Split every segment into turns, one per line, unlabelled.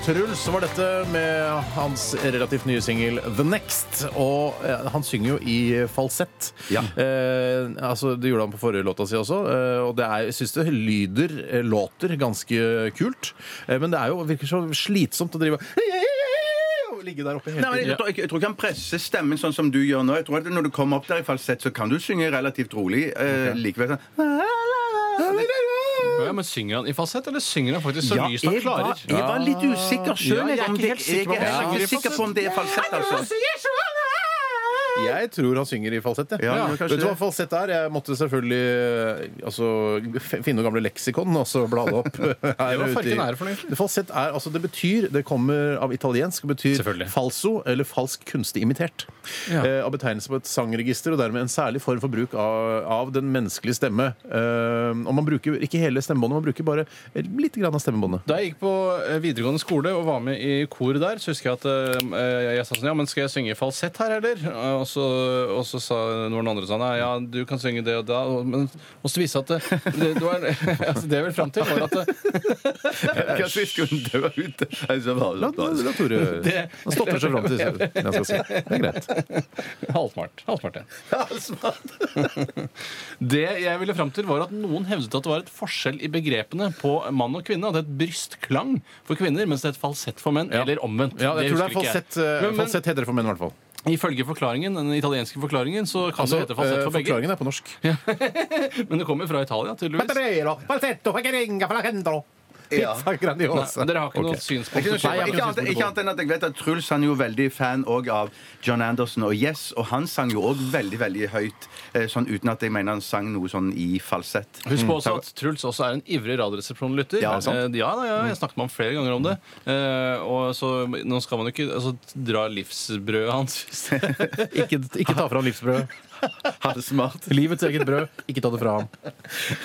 Truls var dette med hans relativt nye singel 'The Next'. Og eh, han synger jo i falsett.
Ja.
Eh, altså, det gjorde han på forrige låta si også. Eh, og det er, jeg syns det lyder, eh, låter, ganske kult. Eh, men det er jo, virker så slitsomt å drive og ligge der oppe hele
Nei, men jeg,
tiden.
tror- jeg, jeg tror ikke han presser stemmen sånn som du gjør nå. Jeg tror at Når du kommer opp der i falsett, så kan du synge relativt rolig. Eh, likevel sånn
Ja, men synger han i fasett, eller synger han faktisk så
Ja,
lyst han
jeg var,
klarer?
jeg var litt usikker
Ja,
sjøl.
jeg er
jeg, om
ikke
det-
helt sikker på om
jeg er
han
ikke
synger i
sikker på om det er falsett, altså.
Jeg tror han synger i falsett. jeg.
Ja, ja, kanskje
Vet du hva
det.
falsett er? Jeg måtte selvfølgelig eh, altså, f- finne noen gamle leksikon og så blade opp. Her
Hva
ute i-
farken er det for noe, egentlig?
Det Falsett er, altså det betyr, det kommer av italiensk og betyr
Selvfølgelig.
falso eller falsk kunstig imitert.
Ja.
Eh, og betegnelse på et sangregister og dermed en særlig form for bruk av, av den menneskelige stemme. Eh, og man bruker ikke hele stemmebåndet, man bruker bare litt grann av stemmebåndet.
Da jeg gikk på eh, videregående skole og var med i kor der, så husker jeg at eh, jeg sa sånn Ja, men skal jeg synge i falsett her, eller? Eh, Og så, og så sa noen andre sånn Nei, ja, du kan synge det og da. og- Men og så viste det seg at eh, det, det, det var altså, Det jeg vil fram til, var at det,
Kanskje vi skulle dø ute. Altså, bare-
La, la, la Tore
Det-
Han stopper seg fram til det han skal si. Det er greit.
eh, Halvsmart. Halvsmart, ja. Det jeg ville fram til, var at noen hevdet at det var et forskjell i begrepene på mann og kvinne. At det het brystklang for kvinner, mens det het falsett for menn.
Ja.
Eller omvendt.
Ja, jeg tror det er
husker ikke jeg.
falsett, eh,
Men- men
falsett heter det for menn, i hvert fall.
Ifølge forklaringen, den italienske forklaringen, så kan det hete falsett
eh,
for begge.
forklaringen er på norsk.
Men det kommer fra Italia, tydeligvis.
Ja.
Nei, dere har ikke noe
Ok.
synspunkt
Ikke
på
noe skjønt. Ikke annet, ikke annet enn at jeg vet at Truls han er jo veldig fan også av John Anderson og Yes, og han sang jo òg veldig veldig høyt, eh, sånn uten at jeg mener han sang noe sånn i falsett.
Husk på også at Truls også er en ivrig Radioresepsjon-lytter.
Ja,
Eh,
sant.
ja, da, ja,
Mm.
jeg snakket med ham flere ganger om det. Eh, og så, nå skal man jo ikke altså, dra livsbrødet hans.
Ikke, ikke ta fra ham livsbrødet.
Halvsmart.
Livets eget brød. Ikke ta det fra ham.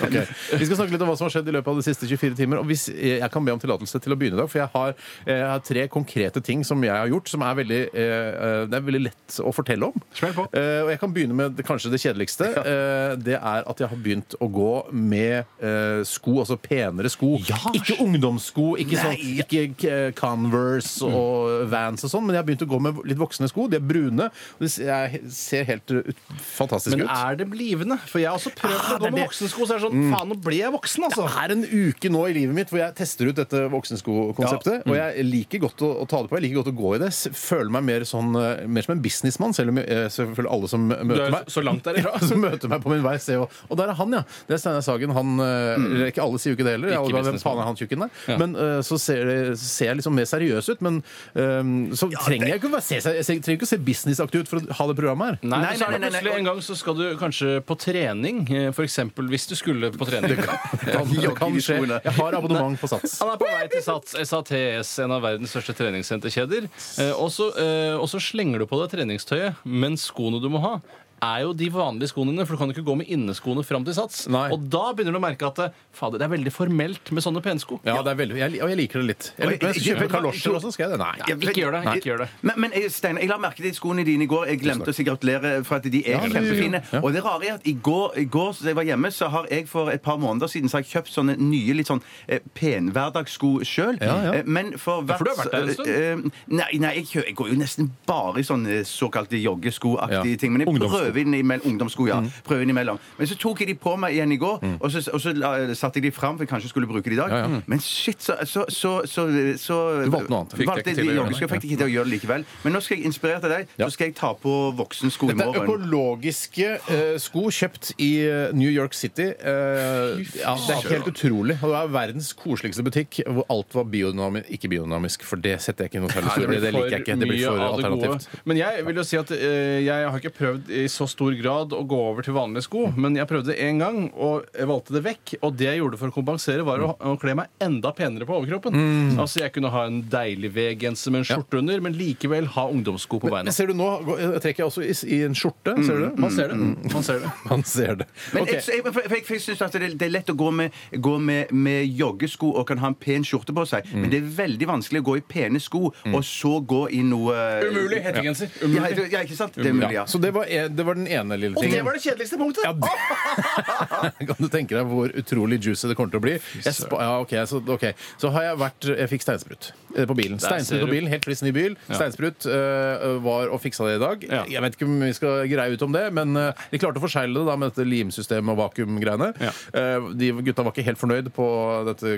Ok. Vi skal snakke litt om hva som har skjedd i løpet av de siste 24 timer. Og hvis eh, jeg kan be om tillatelse til å begynne i dag, for jeg har, eh, jeg har tre konkrete ting som jeg har gjort, som er veldig, eh, det er veldig lett å fortelle om.
Smell på.
Eh, og jeg kan begynne med det- kanskje det kjedeligste. Eh, det er at jeg har begynt å gå med eh, sko, altså penere sko. Ikke ungdomssko, ikke, sånn, ikke eh, Converse
Mm.
og Vans og sånn, men jeg har begynt å gå med litt voksne sko. De er brune. og de s- jeg ser helt eh, ut, fantastisk
Men
ut.
er det blivende? For jeg har også prøvd
Ah,
å
det
gå
Mm. er
med
det.
voksensko, så er det sånn Faen, nå ble jeg voksen, altså!
Det er en uke nå i livet mitt hvor jeg tester ut dette voksenskokonseptet.
mm.
Og jeg liker godt å, å ta det på, jeg liker godt å gå i det. S- Føler meg mer, sånn, eh, mer som en businessmann, selv om eh, selvfølgelig alle som
Du
møter
er
meg
så langt derifra.
Ja, som møter meg på min vei, ser jo Og der er han, ja! Det er Steinar Sagen. Han, eh, eller Ikke alle sier jo ikke det heller.
Mm. Ikke
Alle bare, Hvem
businessmann.
faen er han tjukken der? Men eh, så ser, det, så ser jeg liksom mer seriøs ut. Men eh, så trenger jeg ikke å være- se, seg- jeg trenger ikke å se businessaktig ut for å ha det programmet her.
Nei,
Nei,
men så
nei,
er det
nei, nei.
plutselig en gang så skal du kanskje på trening. F.eks. hvis du skulle på trening.
Kan, det kan skje. Jeg har abonnement på Sats.
Han er på vei til Sats, SATS, en av verdens største treningssenterkjeder. Eh, og så eh, og så slenger du på deg treningstøyet, men skoene du må ha, er jo de vanlige skoene dine, for du kan jo ikke gå med inneskoene fram til Sats.
Nei.
Og da begynner du å merke at eh, fader, det er veldig formelt med sånne pensko.
Ja, det er veldig, jeg, og jeg liker det litt. Jeg, lurer
Og
på om jeg skal
jeg-
kjøpe kalosjer også, skal jeg det? Nei.
Ikke gjør det, ikke gjør det.
Men, men eh, Steinar, jeg la merke til skoene dine i går. Jeg glemte å si gratulere for at de er
det-
kjempefine.
ja.
Og det rare er at i går, i går så jeg var hjemme, så har jeg for et par måneder siden så har jeg kjøpt sånne nye litt sånn eh, penhverdagssko sjøl.
Ja, ja.
Eh, Men for
for du
hvert
har vært der en stund?
eh, eh, Nei, nei jeg, kjø, jeg går jo nesten bare i sånne såkalte joggeskoaktige
Ja.
ting. Men jeg
Ungdomssko. Mm.
prøver innimellom. Ungdomssko, ja. Prøver innimellom. Men så tok jeg de på meg igjen i går, og så, og så la- satte jeg de fram, for jeg kanskje skulle bruke de i dag.
Ja, ja.
Men shit, så, så, så, så, så
Du valgte noe annet. Fikk
Fikk
deg ikke
valgte de
til å gjøre
joggesko.
det.
Jeg fikk ikke til å gjøre det likevel. Men nå skal jeg inspirere til deg.
Ja.
Så skal jeg ta på voksensko i
Dette er
morgen.
økologiske eh, sko kjøpt i eh, New York City. Eh, ja, det er helt utrolig. Og det er verdens koseligste butikk hvor alt var biodynamisk. Ikke biodynamisk, for det setter jeg ikke noe særlig
Nei,
for. Det, det liker jeg ikke. Det blir
mye
for
av det
alternativt.
gode. Men jeg vil jo si at eh, jeg har ikke prøvd i så stor grad å gå over til vanlige sko, men jeg prøvde det én gang og jeg valgte det vekk. Og det jeg gjorde for å kompensere, var å, å kle meg enda penere på overkroppen.
Mm.
Altså Jeg kunne ha en deilig V-genser med en skjorte under, men likevel ha ungdomssko på
Men
beina.
ser du nå går- jeg trekker jeg også i, i en skjorte. Ser du det?
Man ser det.
Mm.
Man ser det.
Man ser det.
Men
Ok.
jeg, jeg, for- for jeg, for jeg synes at det, det er lett å gå, med, gå med, med joggesko og kan ha en pen skjorte på seg,
Mm.
men det er veldig vanskelig å gå i pene sko og så gå i noe eh,
Umulig hettegenser.
Ja, ja, ikke sant? Det er umulig,
Ja,
ja.
så det var, det var den ene lille
Og
tingen.
det var det kjedeligste punktet!
Ja, det- kan du tenke deg hvor utrolig juicy det kommer til å bli? Jeg spa, ja, ok, så, ok. så har jeg vært Jeg fikk steinsprut eh, på bilen.
ser
Steinsprut på
du.
bilen, Helt frisk ny bil. Steinsprut eh, var og fiksa det i dag.
Ja.
Jeg vet ikke om vi skal greie ut om det, men eh, de klarte å forsegle det da med dette limsystemet og vakuumgreiene.
Ja.
Eh, de gutta var ikke helt fornøyd på dette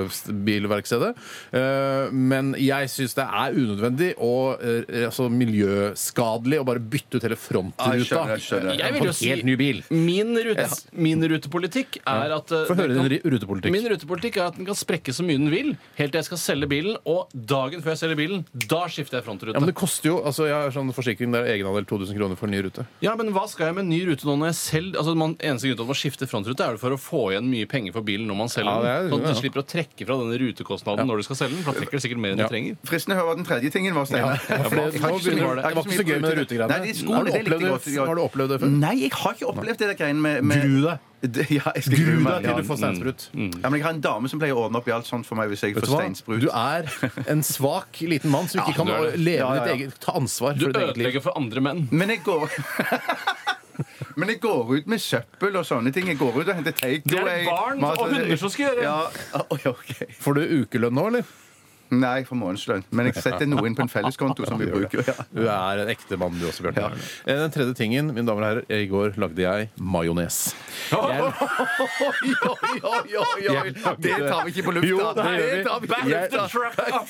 glassbilverkstedet. Eh, men jeg syns det er unødvendig og eh, altså miljøskadelig å bare bytte ut hele
Ja, jeg
frontruta
skjønner, jeg skjønønner.
Jeg
på
vil jo
en
si-
helt ny bil.
Min, rute, min rutepolitikk er at eh,
Få høre
den
din
kan-
ri- rutepolitikk.
Min rutepolitikk er at den kan sprekke så mye den vil, helt til jeg skal selge bilen. Og dagen før jeg selger bilen, da skifter jeg frontrute.
Ja, men det koster jo, altså Jeg har sånn forsikring der egenandel 2000 kroner for en ny rute.
hva skal jeg med ny rute nå når jeg selv Altså, man, Eneste grunn til at man skifter frontrute, er jo for å få igjen mye penger for bilen når man selger
Ja, det er-
den. Sånn at
ja.
du slipper å trekke fra denne rutekostnaden når du skal selge den. For da trekker du sikkert mer enn
Ja.
du trenger.
Fristende å høre hva den tredje tingen var, Steinar.
for det-
Jeg har
nå
ikke så mye-
begynner det- det
jeg har
var ikke så
mye
greier med
bruk til det.
rutegreiene.
Nei, de
Har du
skoene, det likte jeg
opplevd
godt. Mm.
det- har du opplevd det før?
Nei, jeg har ikke opplevd det der greiene med, med
Gru deg.
Det- Ja, jeg skal
Gru
meg.
deg til
Ja.
du får steinsprut.
Ja, men jeg har en dame som pleier å ordne opp i alt sånt for meg hvis jeg
Vet
får
du hva?
steinsprut.
Du er en svak liten mann som ikke kan
du er det.
leve
Ja, ja,
ditt
ja.
eget Ta ansvar
Du
for ditt eget liv.
ødelegger for andre menn.
Men jeg går Men jeg går ut med søppel og sånne ting. Jeg går ut og henter takeaway.
Det er det barn
mat-
og hunder som skal gjøre.
Ja, oi, ok.
Får du ukelønn nå, eller?
Nei, for månedslønn. Men jeg setter noe inn på en felleskonto som vi bruker. Ja.
Du er en ekte mann, du også, Bjarte. Eh, Den tredje tingen, mine damer og herrer, i går lagde jeg majones. Jeg-
Oi, oi, oi, oi, oi. Det tar vi ikke på lufta.
Jo, det gjør vi.
tar vi på
Jeg-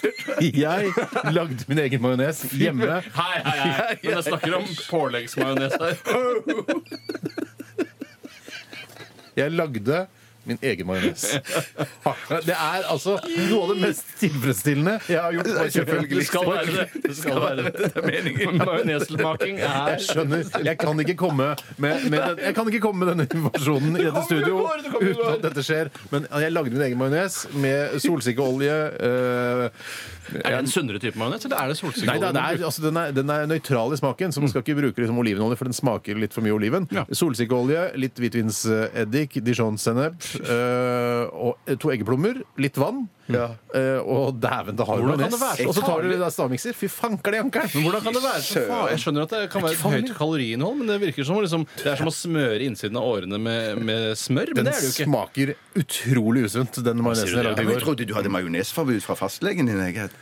lufta.
Jeg lagde min egen majones hjemme.
Hei, hei, hei. Men jeg snakker om påleggsmajones her.
Jeg lagde min egen majones. Det er altså noe av det mest tilfredsstillende jeg har gjort. på kjøkken.
Det skal være det. Det skal være det. Majoneslmaking er
Jeg skjønner. Jeg kan ikke komme med, med, den, jeg kan ikke komme med denne informasjonen i dette studio
går, det kommer, det
uten
går.
at dette skjer. Men jeg lagde min egen majones med solsikkeolje. eh,
Er det en sunnere type majones, eller er det solsikker?
nei, da, det er, altså, den, er, den er nøytral i smaken, så man skal ikke bruke liksom, olivenolje, for den smaker litt for mye oliven.
Ja.
Solsikkeolje, litt hvitvinseddik, dijon-sennep eh, og to eggeplommer, litt vann. eh, og dæven, det har du
Hvordan kan det være så
Og så tar du det der stavmikser. Fy fanker det
Men
jankeren!
hvordan kan det være så faen? Jeg skjønner at det kan være et høyt kaloriinnhold, men det virker som, å liksom, det er som å smøre innsiden av årene med, med smør. Men
Den
det er det jo ikke.
smaker utrolig usunt, den majonesen jeg
du det?
lagde i
Jeg
går.
trodde du hadde majonesforbud fra fastlegen din. Jeg.
Har-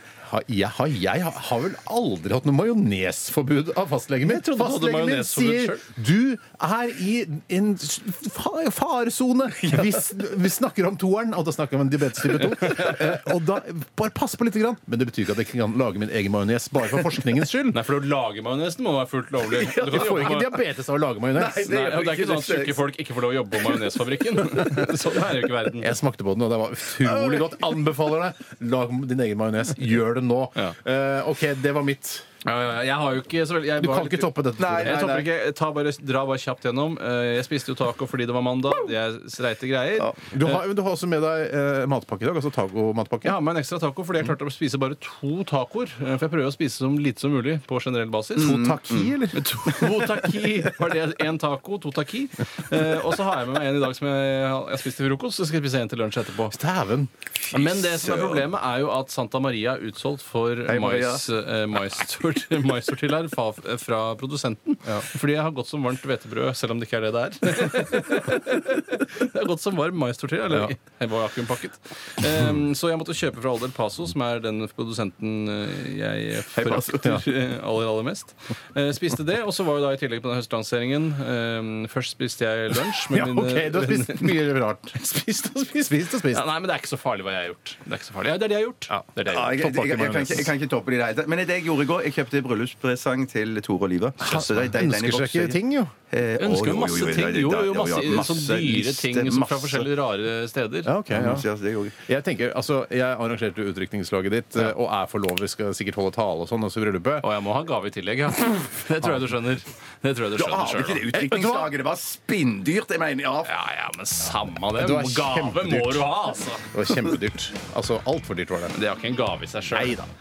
Jeg har, jeg har- har vel aldri hatt noe majonesforbud av fastlegen min.
trodde du hadde
Fastlegen min
majonesforbud
sier du er i en s- fa- faresone. Vi, s- vi snakker om toeren, og da snakker vi om diabetes type 2. Eh, Og da, bare pass på litt, grann. men det betyr ikke at jeg ikke kan lage min egen majones bare for forskningens skyld.
Nei, for å lage majonesen må være fullt lovlig. Du kan
Jeg får
jobbe
ikke
med-
diabetes av å lage majones.
Nei, og det er
ikke
ikke sånn at
det.
tjukke folk ikke får lov å jobbe på majonesfabrikken. Sånn er jo ikke verden.
Jeg smakte på den, og det var utrolig godt. Anbefaler deg. Lag din egen majones. Gjør det nå.
Ja.
Eh, OK, det var mitt.
Ja, ja, Jeg har jo ikke så veldig jeg
Du
var
kan
litt-
ikke toppe dette.
Nei,
Jeg topper ikke. Jeg tar bare, drar bare kjapt gjennom. Eh, Jeg spiste jo taco fordi det var mandag. Det er streite greier.
Du har, men du har også med deg eh, matpakke i dag, altså taco-matpakke.
Jeg har med en ekstra taco fordi jeg klarte å spise bare to tacoer. eh, For jeg prøver å spise så lite som mulig på generell basis.
Taki, eller?
To taki var det. Én taco, to taki. Eh, og så har jeg med meg en i dag som jeg, jeg spiste til frokost. Så skal jeg spise en til lunsj etterpå.
Dæven.
Men det som er problemet, er jo at Santa Maria er utsolgt for
Hei, Maria.
mais, eh, maissort- maissortillaer fra, fra produsenten. Fordi jeg har gått som varmt hvetebrød, selv om det ikke er det det er. det har gått som varm maistortilla. Eller
Ja.
jeg var vakuumpakket. Em, så jeg måtte kjøpe fra Alder Paso, som er den produsenten eh, jeg forakter eh, aller, aller mest. Eh, spiste det, og så var jo da i tillegg på den høstlanseringen em, Først spiste jeg lunsj med
Ja,
mine
OK, du har spist mye rart.
Spist og
eh,
spist.
Spist og spist.
Ja, nei, men det er ikke så farlig hva jeg har gjort. Det er ikke så farlig. Ja, det er det jeg har gjort. Det er det
Ja,
jeg har
jeg, jeg,
gjort.
jeg, jeg, kan ikke, jeg kan ikke toppe det i det hele tatt. Men det jeg gjorde i går, jeg kjøpte bryllupspresang til Tore og Liva. Så det- det- den jeg
Ønsker seg
vokser
ikke
i.
ting, jo.
Eh,
Jeg ønsker
å,
jo masse
jo,
ting.
det-
Jo,
det-
jo,
ja,
masse,
ja, masse
sånn dyre
liste,
ting som fra
masse-
forskjellige rare steder.
Ja, ok,
Ja,
ja.
masse, altså, det gjorde jeg.
Jeg tenker, altså, jeg arrangerte utrykningslaget ditt eh, og er forlover, skal sikkert holde tale og sånn også i bryllupet.
Og jeg må ha gave i tillegg, ja. Det tror jeg du skjønner. Det tror jeg du
Du
skjønner
aner ikke det
selv, da.
utdrikningslaget. Det var spinndyrt. Jeg mener, ja.
Ja, ja, men samme det.
Det var
Gave må
kjempedyrt.
du ha, altså.
Det var kjempedyrt. Altså, altfor dyrt var det.
Det er jo ikke en gave i seg sjøl.